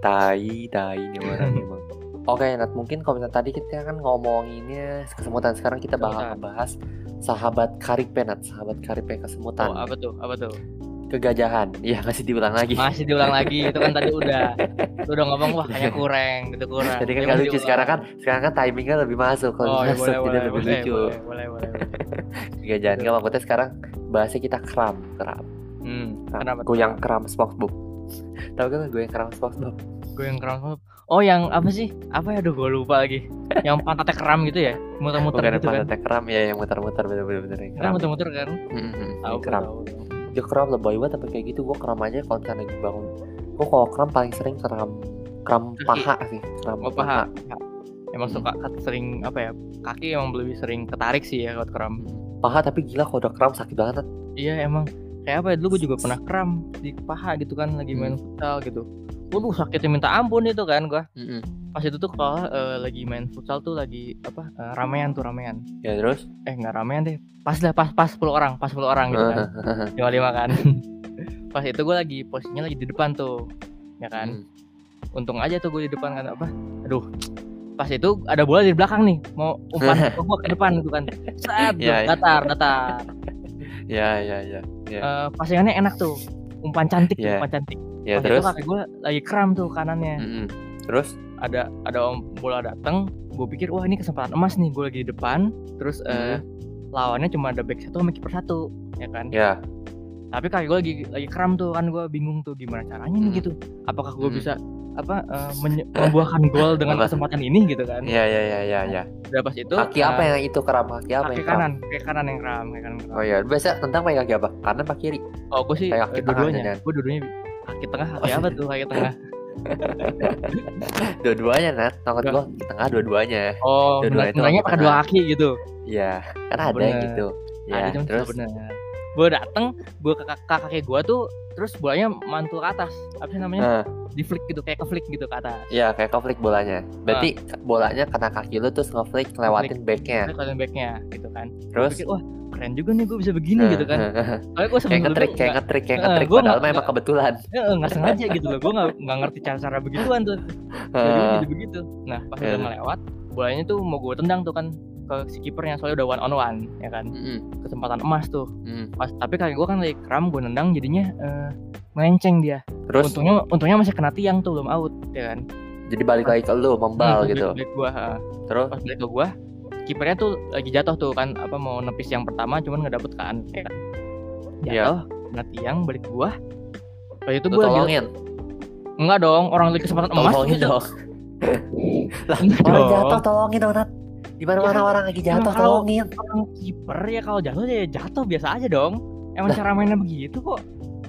Speaker 3: Tai Tai nih orang emang Oke Nat mungkin kalau misalnya tadi kita kan ngomonginnya kesemutan Sekarang kita bakal
Speaker 1: Kesemutan.
Speaker 3: ngebahas sahabat karipe Nat Sahabat karipe kesemutan
Speaker 1: Oh, apa tuh? Apa tuh?
Speaker 3: Kegajahan Iya masih diulang lagi
Speaker 1: Masih diulang lagi itu kan tadi udah lu udah ngomong wah kayaknya kurang gitu kurang.
Speaker 3: [LAUGHS] Jadi kan
Speaker 1: Dia
Speaker 3: gak
Speaker 1: masih
Speaker 3: lucu
Speaker 1: ulang.
Speaker 3: sekarang kan Sekarang kan timingnya lebih masuk Kalau
Speaker 1: Oh, ya
Speaker 3: masuk
Speaker 1: boleh,
Speaker 3: jadi
Speaker 1: boleh,
Speaker 3: lebih
Speaker 1: boleh,
Speaker 3: lucu
Speaker 1: boleh, boleh, boleh,
Speaker 3: Kegajahan gak maksudnya sekarang Bahasnya kita kram Kram,
Speaker 1: Hmm,
Speaker 3: kram.
Speaker 1: kenapa?
Speaker 3: Gue yang kram Spongebob Tau gak gue yang kram Spongebob
Speaker 1: Gue yang keram banget. Oh, yang apa sih? Apa ya? Aduh, gue lupa lagi. Yang pantatnya keram gitu ya? Muter-muter
Speaker 3: Bukan
Speaker 1: gitu
Speaker 3: depan
Speaker 1: kan?
Speaker 3: kan? keram ya yang muter-muter bener-bener yang
Speaker 1: Kan
Speaker 3: keram.
Speaker 1: muter-muter kan?
Speaker 3: Mm-mm,
Speaker 1: Tahu,
Speaker 3: yang keram.
Speaker 1: tahu.
Speaker 3: Ya keram lebay banget tapi kayak gitu gua keram aja kalau misalnya lagi bangun. Gua kalau keram paling sering keram keram
Speaker 1: Kaki.
Speaker 3: paha sih, keram
Speaker 1: Oh, paha. Emang suka kat- sering apa ya? Kaki emang lebih sering ketarik sih ya kalau keram.
Speaker 3: Paha tapi gila kalau udah keram sakit banget. Tat.
Speaker 1: Iya, emang. Kayak apa ya? Dulu gue juga pernah keram di paha gitu kan lagi main
Speaker 3: Hmm.
Speaker 1: futsal gitu. Waduh, sakitnya minta ampun itu kan gua. Pas itu tuh kalau eh, lagi main futsal tuh lagi apa? eh, ramean tuh ramean.
Speaker 3: Ya terus
Speaker 1: eh nggak ramean deh pas lah pas pas 10 orang pas 10 orang
Speaker 3: [LAUGHS]
Speaker 1: gitu kan lima lima kan [LAUGHS] pas itu gue lagi posisinya lagi di depan tuh ya kan
Speaker 3: Mm.
Speaker 1: untung aja tuh gue di depan kan apa aduh pas itu ada bola di belakang nih mau
Speaker 3: [LAUGHS]
Speaker 1: umpan gue ke depan gitu kan Set,
Speaker 3: Iya, iya.
Speaker 1: datar datar
Speaker 3: Ya ya ya.
Speaker 1: Eh, pasingannya enak tuh umpan cantik tuh,
Speaker 3: Iya.
Speaker 1: umpan cantik
Speaker 3: Ya
Speaker 1: pas
Speaker 3: terus. Hmm.
Speaker 1: itu kakek gue lagi kram tuh kanannya
Speaker 3: Mm-mm. Terus
Speaker 1: ada ada om bola datang gue pikir wah ini kesempatan emas nih gue lagi di depan terus eh,
Speaker 3: Hmm.
Speaker 1: lawannya cuma ada back satu sama kiper satu ya kan
Speaker 3: ya.
Speaker 1: tapi kaki gue lagi lagi kram tuh kan gue bingung tuh gimana caranya nih
Speaker 3: Hmm.
Speaker 1: gitu apakah gue
Speaker 3: Hmm.
Speaker 1: bisa apa eh, menye- membuahkan gol dengan
Speaker 3: [LAUGHS] Apa?
Speaker 1: kesempatan ini gitu kan
Speaker 3: Ya ya ya ya ya.
Speaker 1: udah pas itu eh,
Speaker 3: Kaki apa yang itu keram? Kaki apa
Speaker 1: kaki
Speaker 3: yang keram?
Speaker 1: kanan kaki kanan yang kram kaki kanan yang kram
Speaker 3: Oh ya, biasa tentang pakai kaki apa? Kanan apa kiri?
Speaker 1: oh gue sih
Speaker 3: kayak
Speaker 1: eh,
Speaker 3: kaki tengah kan ya?
Speaker 1: dua-duanya
Speaker 3: Oh, aja,
Speaker 1: gue dua-duanya kaki tengah kaki
Speaker 3: iya.
Speaker 1: apa tuh kaki tengah
Speaker 3: Dua-duanya, Nat. Tangan
Speaker 1: Enggak.
Speaker 3: gua di tengah dua-duanya.
Speaker 1: oh benar
Speaker 3: Dua-duanya itu
Speaker 1: benarnya
Speaker 3: kaki
Speaker 1: pakai dua
Speaker 3: tengah.
Speaker 1: kaki gitu
Speaker 3: Iya, kan ada
Speaker 1: Bener.
Speaker 3: yang gitu. Ya,
Speaker 1: ada cuma
Speaker 3: terus
Speaker 1: benar gue dateng gue ke kak- kakek gue tuh terus bolanya mantul ke atas apa sih namanya
Speaker 3: Nah,
Speaker 1: di flick gitu kayak ke flick gitu ke atas
Speaker 3: ya kayak keflik bolanya. Berarti
Speaker 1: Ah.
Speaker 3: bolanya kena kaki lu terus ngeflik lewatin backnya.
Speaker 1: Terus ada backnya gitu kan
Speaker 3: Iya. Terus
Speaker 1: Pikir, wah keren juga nih gue bisa begini gitu kan Soalnya gue
Speaker 3: kayak
Speaker 1: sebelum
Speaker 3: ngetrik, kayak ngetrik, kayak ngetrik.
Speaker 1: Eh, gua
Speaker 3: Padahal
Speaker 1: nggak-
Speaker 3: memang kebetulan.
Speaker 1: Ya, eh, nggak sengaja gitu loh gue nggak nggak ngerti cara cara begituan tuh jadi gua
Speaker 3: Heeh.
Speaker 1: jadi begitu nah pas
Speaker 3: Eh.
Speaker 1: udah ngelewat bolanya tuh mau gue tendang tuh kan ke si kipernya soalnya udah one on one ya kan
Speaker 3: Mm,
Speaker 1: kesempatan emas tuh
Speaker 3: mm.
Speaker 1: pas tapi kaki gue kan lagi kram gue nendang jadinya eh, melenceng dia
Speaker 3: Terus
Speaker 1: untungnya untungnya masih kena tiang tuh belum out ya kan
Speaker 3: jadi balik lagi ke lu membal
Speaker 1: Hmm,
Speaker 3: gitu.
Speaker 1: balik- balik gua, ha.
Speaker 3: Terus
Speaker 1: pas balik ke gue kipernya tuh lagi jatuh tuh kan apa mau nepis yang pertama cuman nggak dapet kan ya kan
Speaker 3: Iya.
Speaker 1: jatuh kena tiang balik ke gua Waktu itu
Speaker 3: Lu
Speaker 1: gua lagi-
Speaker 3: tolongin
Speaker 1: enggak dong orang lagi kesempatan emas
Speaker 3: Tolongin [LAUGHS]
Speaker 1: gitu.
Speaker 3: dong
Speaker 1: Enggak
Speaker 3: Orang
Speaker 1: dong.
Speaker 3: jatuh tolongin dong Nat di mana mana
Speaker 1: Ya,
Speaker 3: orang lagi jatuh
Speaker 1: kalau-
Speaker 3: tolongin
Speaker 1: orang kiper ya kalau jatuh ya jatuh biasa aja dong emang cara mainnya begitu kok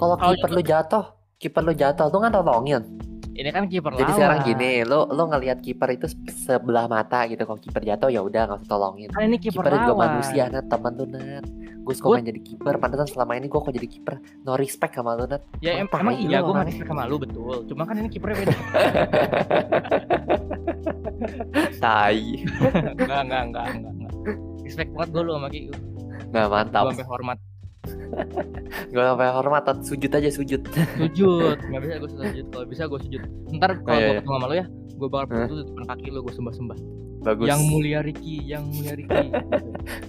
Speaker 3: Kalau
Speaker 1: Kalau
Speaker 3: kiper lu jatuh, kiper lu jatuh, lu kan tolongin.
Speaker 1: ini kan kiper
Speaker 3: Jadi
Speaker 1: lawan.
Speaker 3: sekarang gini, lu lu ngelihat kiper itu sebelah mata gitu. Kalau kiper jatuh ya udah nggak usah tolongin.
Speaker 1: kan ini kiper
Speaker 3: Kiper juga
Speaker 1: lawan
Speaker 3: manusia, Nat, teman lu, Nat. Gue suka
Speaker 1: Gua-
Speaker 3: main jadi kiper, pantesan selama ini gue kok jadi kiper. No respect sama lu, Nat.
Speaker 1: ya em-
Speaker 3: Mata
Speaker 1: emang
Speaker 3: lu
Speaker 1: iya gue
Speaker 3: orang.
Speaker 1: masih sama lu betul cuma kan ini kipernya beda
Speaker 3: Tai.
Speaker 1: enggak enggak enggak enggak enggak. respect banget gue lu sama Ki gue
Speaker 3: Nggak mantap.
Speaker 1: sampai hormat
Speaker 3: Gue sampai hormat, Nat. sujud aja
Speaker 1: [LAUGHS]
Speaker 3: sujud.
Speaker 1: sujud nggak bisa gue sujud kalau bisa gue sujud ntar kalau
Speaker 3: iya,
Speaker 1: gue
Speaker 3: iya.
Speaker 1: ketemu sama lu ya gue bakal
Speaker 3: Hah?
Speaker 1: putus di depan kaki lu gue sembah sembah
Speaker 3: Bagus.
Speaker 1: yang mulia Riki yang mulia Riki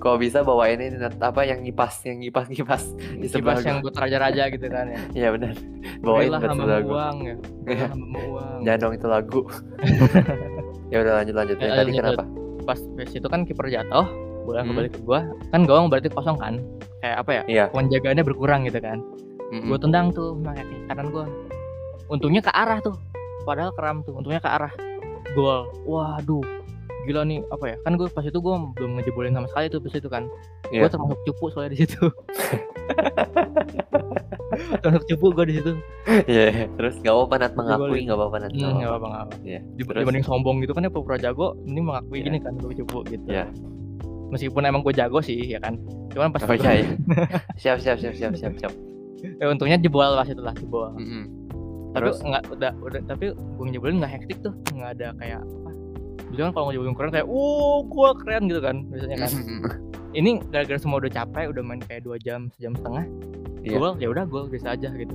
Speaker 3: Kalau bisa bawain ini Nat, apa yang ngipas, yang ngipas ngipas. [LAUGHS] [LAUGHS] Di sebelah
Speaker 1: kibas yang gue raja-raja gitu kan ya
Speaker 3: Iya benar. Bawain
Speaker 1: Berilah
Speaker 3: buat
Speaker 1: hamba
Speaker 3: sebelah gua. Iya.
Speaker 1: uang ya Berilah hamba uang
Speaker 3: Jangan dong itu lagu.
Speaker 1: [LAUGHS]
Speaker 3: ya udah lanjut lanjut.
Speaker 1: Ya,
Speaker 3: Yang tadi
Speaker 1: lanjut,
Speaker 3: kenapa?
Speaker 1: pas pas itu kan kiper jatuh bola
Speaker 3: Hmm.
Speaker 1: kembali ke gua kan gawang berarti kosong kan kayak apa ya
Speaker 3: Iya.
Speaker 1: penjagaannya berkurang gitu kan
Speaker 3: Mm-mm.
Speaker 1: gua tendang tuh sama kaki kanan gua untungnya ke arah tuh padahal keram tuh untungnya ke arah gol waduh gila nih apa ya kan gue pas itu gue belum ngejebolin sama sekali tuh pas itu kan
Speaker 3: Iya.
Speaker 1: gue termasuk cupu soalnya di situ [LAUGHS] termasuk cupu gue di situ
Speaker 3: [LAUGHS] Iya, iya. terus nggak apa-apa Nat mengakui,
Speaker 1: Digolin.
Speaker 3: nggak apa-apa Nat. nggak
Speaker 1: Hmm, nggak
Speaker 3: apa-apa.
Speaker 1: apa-apa nggak apa
Speaker 3: Iya. Terus?
Speaker 1: dibanding sombong gitu kan ya pura jago ini mengakui
Speaker 3: Iya.
Speaker 1: gini kan gue cupu gitu
Speaker 3: Iya.
Speaker 1: meskipun emang gue jago sih ya kan cuman pas
Speaker 3: Oh iya,
Speaker 1: [LAUGHS]
Speaker 3: iya. siap siap siap siap siap siap.
Speaker 1: Eh, untungnya jebol pas itu lah jebol
Speaker 3: Mm-mm.
Speaker 1: tapi
Speaker 3: Terus?
Speaker 1: nggak udah udah tapi gue nyebolin nggak hektik tuh nggak ada kayak apa biasanya kan kalau nyebolin keren kayak uh gue keren gitu kan biasanya
Speaker 3: Mhm.
Speaker 1: kan ini gara-gara semua udah capek udah main kayak dua jam sejam setengah
Speaker 3: Iya.
Speaker 1: gol ya udah gol biasa aja gitu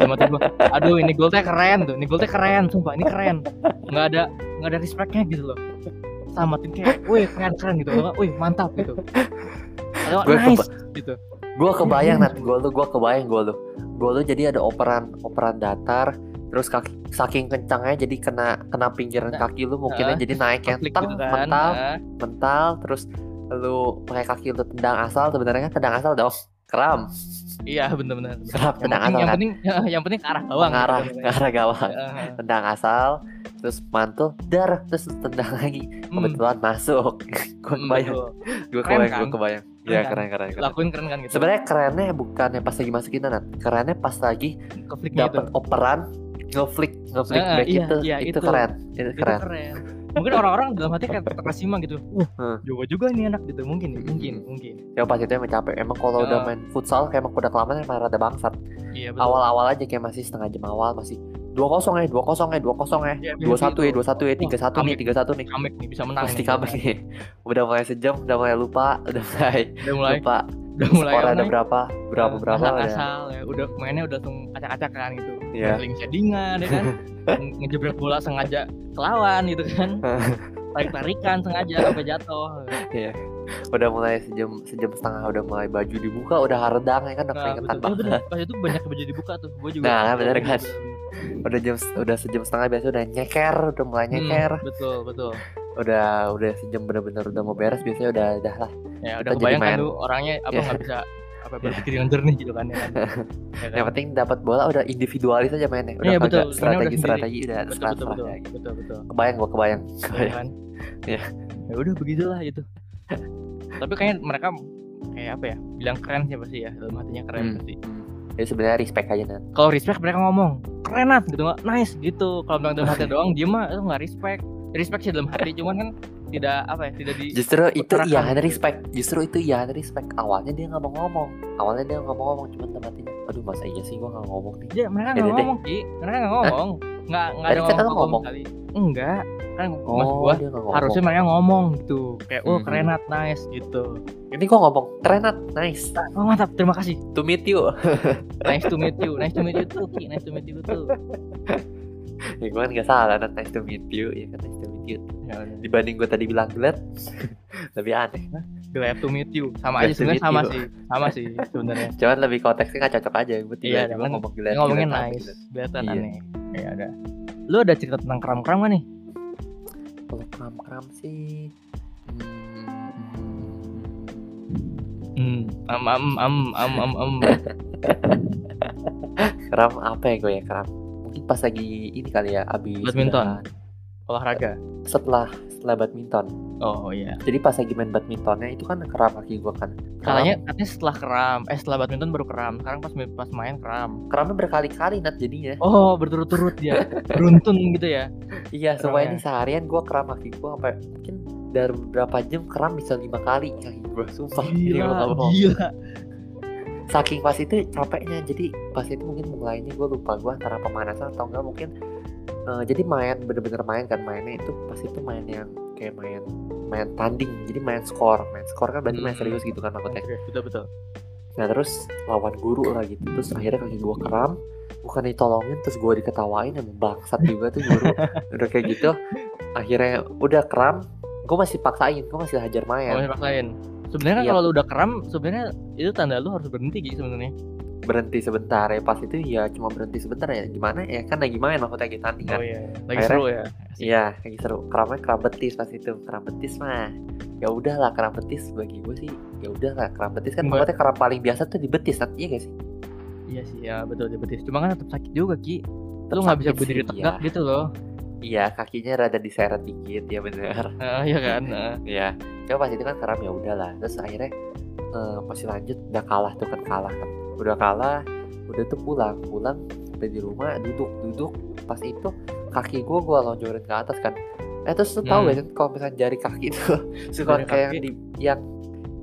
Speaker 1: sama tuh gue aduh ini golnya keren tuh ini golnya keren sumpah ini keren nggak ada nggak ada respectnya gitu loh sama tim kayak wih keren keren gitu Kalau nggak, wih mantap gitu Kalau nggak,
Speaker 3: Gua
Speaker 1: nice gitu
Speaker 3: Gua kebayang Nat, gua lu gua kebayang gua lu. Gua lu jadi ada operan operan datar terus kaki saking kencangnya jadi kena kena pinggiran
Speaker 1: Nah,
Speaker 3: kaki lu mungkinnya
Speaker 1: eh,
Speaker 3: jadi naik
Speaker 1: Konflik
Speaker 3: kentang
Speaker 1: gitu kan.
Speaker 3: mental
Speaker 1: Nah,
Speaker 3: mental terus lu pakai kaki lu tendang asal sebenarnya kan tendang asal dong keram
Speaker 1: iya benar-benar
Speaker 3: keram
Speaker 1: yang
Speaker 3: tendang
Speaker 1: penting, yang
Speaker 3: asal kan
Speaker 1: penting [LAUGHS] yang penting ke arah bawah
Speaker 3: mengarah
Speaker 1: gitu. Iya.
Speaker 3: mengarah gawang [LAUGHS]
Speaker 1: Heeh. hmm,
Speaker 3: tendang asal terus mantul dar terus lu tendang lagi
Speaker 1: Hmm,
Speaker 3: kebetulan masuk [LAUGHS] gue
Speaker 1: hmm,
Speaker 3: kebayang
Speaker 1: betul. Keren
Speaker 3: gue kebayang
Speaker 1: kan?
Speaker 3: gue kebayang
Speaker 1: Keren
Speaker 3: ya
Speaker 1: kan?
Speaker 3: keren keren, keren.
Speaker 1: lakuin keren kan gitu
Speaker 3: sebenarnya kerennya bukannya pas lagi masukin Nat kerennya pas lagi
Speaker 1: konfliknya itu
Speaker 3: dapat operan ngeflick ngeflick
Speaker 1: Gitu. Ah,
Speaker 3: back
Speaker 1: iya,
Speaker 3: itu,
Speaker 1: iya,
Speaker 3: itu
Speaker 1: itu.
Speaker 3: keren itu
Speaker 1: Itu
Speaker 3: keren
Speaker 1: mungkin orang-orang dalam hati kayak terkesima gitu wah
Speaker 3: Hmm.
Speaker 1: jago juga nih anak gitu mungkin ya,
Speaker 3: Hmm.
Speaker 1: mungkin mungkin
Speaker 3: ya pas itu emang capek emang kalau udah
Speaker 1: Ah.
Speaker 3: main futsal kayak emang udah kelamaan emang rada bangsat
Speaker 1: iya betul
Speaker 3: awal-awal aja comeback, kayak masih setengah jam awal masih dua kosong ya dua kosong ya dua kosong ya
Speaker 1: Iya,
Speaker 3: dua
Speaker 1: biasa
Speaker 3: satu
Speaker 1: itu.
Speaker 3: ya dua satu ya tiga satu nih
Speaker 1: comeback.
Speaker 3: tiga satu nih
Speaker 1: comeback nih bisa menang
Speaker 3: pasti
Speaker 1: nih.
Speaker 3: comeback nih [LAUGHS] udah mulai sejam udah mulai lupa [LAUGHS] udah mulai
Speaker 1: udah mulai
Speaker 3: lupa
Speaker 1: udah mulai
Speaker 3: skornya
Speaker 1: apa
Speaker 3: ada
Speaker 1: nih?
Speaker 3: berapa berapa
Speaker 1: Eh,
Speaker 3: berapa udah
Speaker 1: asal-asal ya, udah mainnya udah langsung acak-acakan gitu
Speaker 3: Iya.
Speaker 1: Link shadingan
Speaker 3: [LAUGHS]
Speaker 1: ya kan ngejebret bola sengaja ke lawan gitu
Speaker 3: [LAUGHS]
Speaker 1: kan tarik-tarikan sengaja sampai jatuh
Speaker 3: udah mulai sejam sejam setengah udah mulai baju dibuka udah haredang ya kan udah
Speaker 1: Nah,
Speaker 3: keringetan
Speaker 1: betul.
Speaker 3: banget
Speaker 1: Eh, bener. pas itu banyak baju dibuka tuh gue juga Hmm,
Speaker 3: Nah, kan, bener kan? udah jam udah sejam setengah biasa udah nyeker udah mulai
Speaker 1: Hmm,
Speaker 3: nyeker
Speaker 1: betul betul
Speaker 3: udah udah sejam bener-bener udah mau beres biasanya udah dah lah
Speaker 1: ya
Speaker 3: Kita
Speaker 1: udah
Speaker 3: jadi
Speaker 1: kebayang kan
Speaker 3: main.
Speaker 1: lu orangnya apa
Speaker 3: Iya.
Speaker 1: nggak bisa apa berpikir dengan jernih gitu kan
Speaker 3: [LAUGHS]
Speaker 1: ya kan Ya kan?
Speaker 3: yang penting dapat bola udah individualis aja mainnya udah
Speaker 1: Iya,
Speaker 3: kagak
Speaker 1: betul. Mainnya udah
Speaker 3: strategi
Speaker 1: sendiri.
Speaker 3: strategi udah
Speaker 1: betul
Speaker 3: serah-
Speaker 1: betul betul
Speaker 3: serah aja.
Speaker 1: betul betul
Speaker 3: kebayang gua kebayang
Speaker 1: ya kan
Speaker 3: Iya.
Speaker 1: ya udah begitulah itu tapi kayaknya mereka kayak apa ya bilang keren sih pasti ya dalam hatinya keren
Speaker 3: Hmm.
Speaker 1: pasti
Speaker 3: Jadi sebenarnya respect aja Nat.
Speaker 1: kalau respect mereka ngomong keren Nat," gitu nggak nice gitu kalau bilang dalam hati
Speaker 3: [LAUGHS]
Speaker 1: doang dia mah itu nggak respect respect sih dalam hati cuman kan tidak apa ya tidak di
Speaker 3: Justru itu
Speaker 1: Utarakan.
Speaker 3: iya respect. Justru itu iya respect. Awalnya dia nggak mau ngomong. Awalnya dia nggak mau ngomong cuman tempatnya. Aduh masa iya sih gua nggak ngomong nih.
Speaker 1: dia Iya, mereka
Speaker 3: Ya,
Speaker 1: nggak
Speaker 3: deh. Eh,
Speaker 1: ngomong ki mereka nggak ngomong nggak nggak ada
Speaker 3: Tadi kata lu
Speaker 1: ngomong-ngomong
Speaker 3: ngomong.
Speaker 1: kali enggak kan mas
Speaker 3: Oh
Speaker 1: gua
Speaker 3: dia nggak ngomong.
Speaker 1: harusnya mereka ngomong gitu kayak oh
Speaker 3: Mhm.
Speaker 1: keren Nat, nice gitu
Speaker 3: Ini gua ngomong. Keren Nat. Nice.
Speaker 1: oh mantap terima kasih
Speaker 3: To meet you. [LAUGHS]
Speaker 1: nice to meet you nice to meet you tuh Ki nice to meet you tuh
Speaker 3: ya gua kan nggak salah Nat. Nice to meet you. Ya kan nice to meet you.
Speaker 1: Ya udah.
Speaker 3: Dibanding gua tadi bilang [LAUGHS] gelet. lebih aneh.
Speaker 1: glad to meet you sama aja
Speaker 3: Glad to meet
Speaker 1: sebenarnya sama
Speaker 3: you.
Speaker 1: sih sama sih [LAUGHS] sebenarnya
Speaker 3: Cuman lebih konteksnya nggak cocok aja.
Speaker 1: Iya,
Speaker 3: Gua tiba-tiba
Speaker 1: cuman
Speaker 3: ngomong gelet.
Speaker 1: ngomongin
Speaker 3: gelet,
Speaker 1: nice
Speaker 3: gelet.
Speaker 1: kelihatan
Speaker 3: Iya.
Speaker 1: aneh kayak ada lu ada cerita tentang kram kram gak nih
Speaker 3: Kalau kram-kram sih. hmm,
Speaker 1: Hmm, am am am am am [LAUGHS] am.
Speaker 3: Keram apa ya gue ya keram? Mungkin pas lagi ini kali ya abis
Speaker 1: Badminton.
Speaker 3: udah-
Speaker 1: Olahraga.
Speaker 3: setelah setelah badminton.
Speaker 1: Oh iya.
Speaker 3: Jadi pas lagi main badmintonnya itu kan keram kaki gue kan. Keram-
Speaker 1: Katanya katanya setelah keram, eh setelah badminton baru keram. Sekarang pas pas main keram.
Speaker 3: keramnya berkali-kali nat jadinya.
Speaker 1: Oh, berturut-turut ya. [LAUGHS] Beruntun gitu ya.
Speaker 3: Iya, supaya
Speaker 1: keramnya.
Speaker 3: ini seharian gue keram kaki gue apa mungkin dari berapa jam keram bisa lima kali kaki gue sumpah Ini gua nggak bohong.
Speaker 1: gila.
Speaker 3: saking pas itu capeknya jadi pas itu mungkin mulainya gue lupa gue antara pemanasan atau enggak mungkin eh, jadi main bener-bener main kan mainnya itu pas itu main yang kayak main main tanding jadi main skor main skor kan berarti main
Speaker 1: Hmm.
Speaker 3: serius gitu kan maksudnya
Speaker 1: Betul betul.
Speaker 3: nah terus lawan guru lah gitu terus akhirnya kaki gue keram bukan ditolongin terus gue diketawain yang bangsat juga tuh guru udah kayak gitu akhirnya udah keram gue masih paksain gue masih hajar
Speaker 1: Kamu
Speaker 3: main
Speaker 1: masih paksain. Sebenarnya kan
Speaker 3: Iya.
Speaker 1: kalau lu udah keram, sebenarnya itu tanda lu harus berhenti gitu sebenarnya.
Speaker 3: berhenti sebentar ya pas itu ya cuma berhenti sebentar ya gimana ya kan lagi main maksudnya lagi tanding kan
Speaker 1: iya. Lagi
Speaker 3: Akhirnya-
Speaker 1: seru ya.
Speaker 3: Iya, lagi seru. Keramnya keram betis pas itu. Keram betis mah. Ya udahlah keram betis bagi gue sih. Ya udahlah keram betis kan
Speaker 1: Enggak.
Speaker 3: tempatnya keram paling biasa tuh di betis nanti ya guys.
Speaker 1: Iya sih, ya betul di betis. Cuma kan tetap sakit juga, Ki.
Speaker 3: Tetap
Speaker 1: Lu nggak bisa
Speaker 3: sakit
Speaker 1: berdiri
Speaker 3: sih,
Speaker 1: tegak
Speaker 3: iya.
Speaker 1: gitu loh.
Speaker 3: Iya, kakinya rada diseret dikit ya bener.
Speaker 1: Heeh, iya
Speaker 3: [LAUGHS]
Speaker 1: kan? Heeh.
Speaker 3: Iya. Coba pas itu kan keram ya udahlah. Terus akhirnya eh, masih lanjut udah kalah tuh kan kalah kan. Udah kalah, udah tuh pulang, pulang udah di rumah duduk duduk pas itu kaki gue gue lonjorin ke atas kan eh terus tuh
Speaker 1: Hmm.
Speaker 3: tahu gak sih kalau misalnya jari kaki tuh suka
Speaker 1: Jari
Speaker 3: kayak
Speaker 1: kaki.
Speaker 3: di yang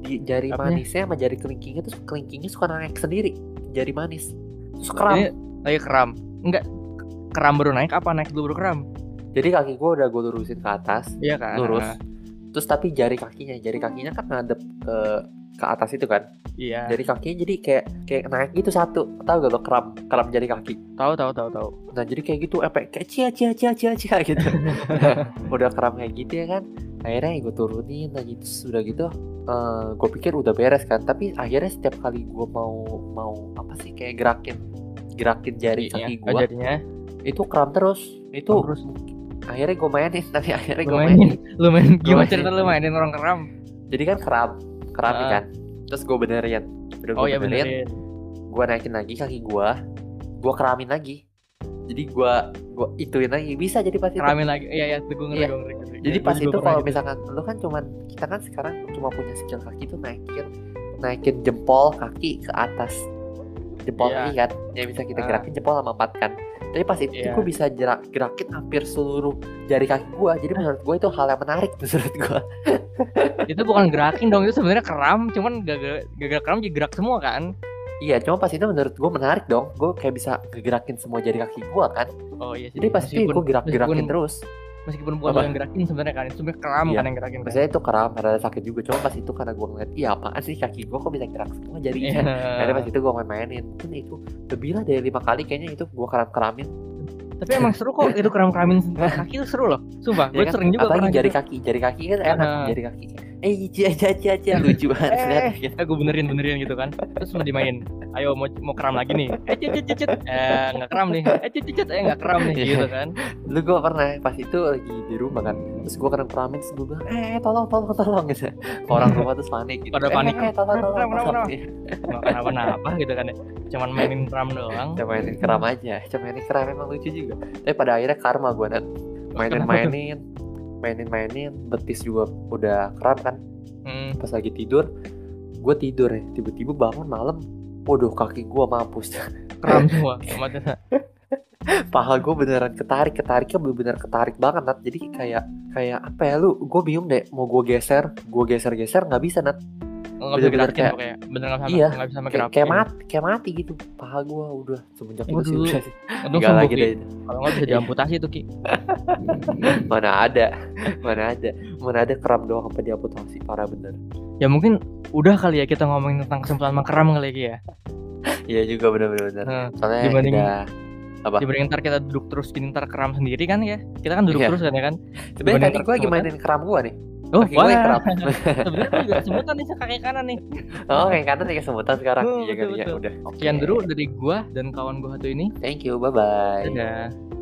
Speaker 3: di jari
Speaker 1: Apanya?
Speaker 3: manisnya sama jari kelingkingnya terus kelingkingnya suka naik sendiri jari manis terus keram
Speaker 1: Nah, Ini lagi keram. oh iya, Enggak keram baru naik apa naik dulu baru keram?
Speaker 3: jadi kaki gue udah gue lurusin ke atas
Speaker 1: Iya kan?
Speaker 3: lurus terus tapi jari kakinya jari kakinya kan ngadep ke ke atas itu kan
Speaker 1: Iya.
Speaker 3: jari kakinya jadi kayak kayak naik gitu satu tahu gak lo keram keram jari kaki
Speaker 1: Tahu tahu tahu tahu.
Speaker 3: Nah jadi kayak gitu efek kayak cia cia cia cia cia [LAUGHS] gitu
Speaker 1: [LAUGHS]
Speaker 3: Udah keram kayak gitu ya kan Akhirnya gue turunin lagi Terus udah gitu eh Gue pikir udah beres kan Tapi akhirnya setiap kali gue mau Mau apa sih kayak gerakin Gerakin
Speaker 1: Iya,
Speaker 3: jari
Speaker 1: Oh.
Speaker 3: kaki gue
Speaker 1: Jarinya.
Speaker 3: Itu keram terus
Speaker 1: Keram
Speaker 3: Itu
Speaker 1: terus.
Speaker 3: akhirnya gue mainin [LAUGHS] Tapi akhirnya
Speaker 1: Lu
Speaker 3: gue
Speaker 1: mainin.
Speaker 3: mainin
Speaker 1: Lu main gimana
Speaker 3: mainin.
Speaker 1: cerita lu mainin orang keram?
Speaker 3: Jadi kan keram Keram nih
Speaker 1: Ah.
Speaker 3: kan Terus gue benerin Udah
Speaker 1: Oh
Speaker 3: gue
Speaker 1: iya
Speaker 3: benerin
Speaker 1: benerin.
Speaker 3: gue naikin lagi kaki gue gue keramin lagi jadi gue gue ituin lagi bisa jadi pas itu
Speaker 1: Keramin lagi. Iya iya, tuh gue ngerti
Speaker 3: Iya.
Speaker 1: gue ngerti, ngerti.
Speaker 3: jadi
Speaker 1: Gua
Speaker 3: pas
Speaker 1: juga
Speaker 3: itu
Speaker 1: pernah
Speaker 3: kalau
Speaker 1: gitu.
Speaker 3: misalkan lu kan cuman kita kan sekarang cuma punya skill kaki tuh naikin naikin jempol kaki ke atas jempol
Speaker 1: Iya.
Speaker 3: kaki kan yang bisa kita
Speaker 1: Ah.
Speaker 3: gerakin jempol sama empat kan tapi pas itu
Speaker 1: Iya.
Speaker 3: gue bisa gerak gerakin hampir seluruh jari kaki gue jadi menurut gue itu hal yang menarik [LAUGHS] menurut gue
Speaker 1: itu bukan gerakin dong, itu sebenarnya keram, cuman gagal gagal keram jadi gerak semua kan?
Speaker 3: iya cuma pas itu menurut gue menarik dong gue kayak bisa gerakin semua jari kaki gue kan
Speaker 1: Oh iya sih.
Speaker 3: jadi pasti
Speaker 1: Meskipun-
Speaker 3: gue gerak gerakin
Speaker 1: meskipun- Iya.
Speaker 3: terus
Speaker 1: Meskipun bukan
Speaker 3: Apa?
Speaker 1: lu yang gerakin sebenarnya kan, itu sebenarnya keram
Speaker 3: Iya.
Speaker 1: kan yang gerakin. kan?
Speaker 3: Maksudnya itu keram, rada sakit juga. Cuma pas itu karena gue ngeliat, iya apaan sih kaki gue kok bisa gerak semua
Speaker 1: Iya.
Speaker 3: jarinya. Karena pas itu gue main-mainin. Mungkin itu lebih lah dari lima kali kayaknya itu gue keram-keramin.
Speaker 1: Tapi emang seru kok itu
Speaker 3: [LAUGHS]
Speaker 1: keram-keramin kaki itu seru loh. Sumpah,
Speaker 3: Ya
Speaker 1: gue
Speaker 3: kan?
Speaker 1: sering juga
Speaker 3: Apalagi
Speaker 1: pernah
Speaker 3: jari
Speaker 1: gitu.
Speaker 3: kaki, jari kaki kan enak.
Speaker 1: Heeh.
Speaker 3: Jari kaki. Eh, cia cia cia cia lucu banget.
Speaker 1: Eh.
Speaker 3: lihat gitu.
Speaker 1: Eh, gue benerin benerin gitu kan terus mau dimain ayo mau mau keram lagi nih eh cet cet cet, cet eh nggak keram nih eh cet cet cet eh nggak keram nih gitu kan
Speaker 3: Lu gue pernah pas itu lagi di rumah kan. Terus gue keram-keramin terus gue bilang, eh tolong tolong tolong gitu. Orang rumah terus panik gitu.
Speaker 1: Pada
Speaker 3: "Eh,
Speaker 1: panik.
Speaker 3: Eh, tolong tolong.
Speaker 1: Kenapa, kenapa,
Speaker 3: tolong."
Speaker 1: nggak kenapa napa gitu kan ya cuman mainin keram doang
Speaker 3: Coba mainin keram aja Coba mainin keram emang lucu juga Tapi pada akhirnya karma gue net Mainin-mainin Mainin-mainin Betis juga udah keram kan
Speaker 1: hmm,
Speaker 3: Pas lagi tidur Gue tidur ya Tiba-tiba bangun malam Waduh kaki gue mampus [LAUGHS]
Speaker 1: keram semua Otomatis-
Speaker 3: Paha gue beneran ketarik Ketariknya bener-bener ketarik banget Nat Jadi kayak Kayak apa ya lu Gue bingung deh Mau gue geser Gue geser-geser nggak bisa Nat
Speaker 1: nggak bisa
Speaker 3: Bener-bener
Speaker 1: gerakin
Speaker 3: kayak-
Speaker 1: pokoknya bener nggak bisa
Speaker 3: Iya,
Speaker 1: nggak bisa
Speaker 3: Kayak-
Speaker 1: ngegerakin
Speaker 3: Kayak mati Kayak mati gitu Paha gue udah Semenjak itu sih
Speaker 1: Waduh. [LAUGHS]
Speaker 3: udah sih.
Speaker 1: untung
Speaker 3: Nggak
Speaker 1: sembuh
Speaker 3: lagi
Speaker 1: Ki
Speaker 3: deh
Speaker 1: kalau nggak bisa diamputasi tuh ki
Speaker 3: mana ada [LAUGHS] mana ada mana ada keram doang apa diamputasi parah bener
Speaker 1: ya mungkin udah kali ya kita ngomongin tentang kesempatan mengkeram kali ya Ki ya Hmm.
Speaker 3: iya juga bener bener bener
Speaker 1: Heeh.
Speaker 3: soalnya
Speaker 1: Dibanding-
Speaker 3: kita Apa?
Speaker 1: dibanding ntar kita duduk terus gini ntar keram sendiri kan ya kita kan duduk
Speaker 3: Iya.
Speaker 1: terus kan ya kan
Speaker 3: sebenarnya
Speaker 1: dibanding
Speaker 3: tadi gue lagi
Speaker 1: kesempatan.
Speaker 3: mainin keram gue nih
Speaker 1: oh
Speaker 3: kaki gue yang
Speaker 1: wah
Speaker 3: keram
Speaker 1: [LAUGHS] sebenarnya gue juga semutan nih kaki kanan nih
Speaker 3: oh kayak kanan kayak semutan sekarang
Speaker 1: Oh,
Speaker 3: iya kali ya
Speaker 1: betul-betul.
Speaker 3: udah oke
Speaker 1: sekian dulu dari gua dan kawan gua satu ini
Speaker 3: thank you bye bye
Speaker 1: dadah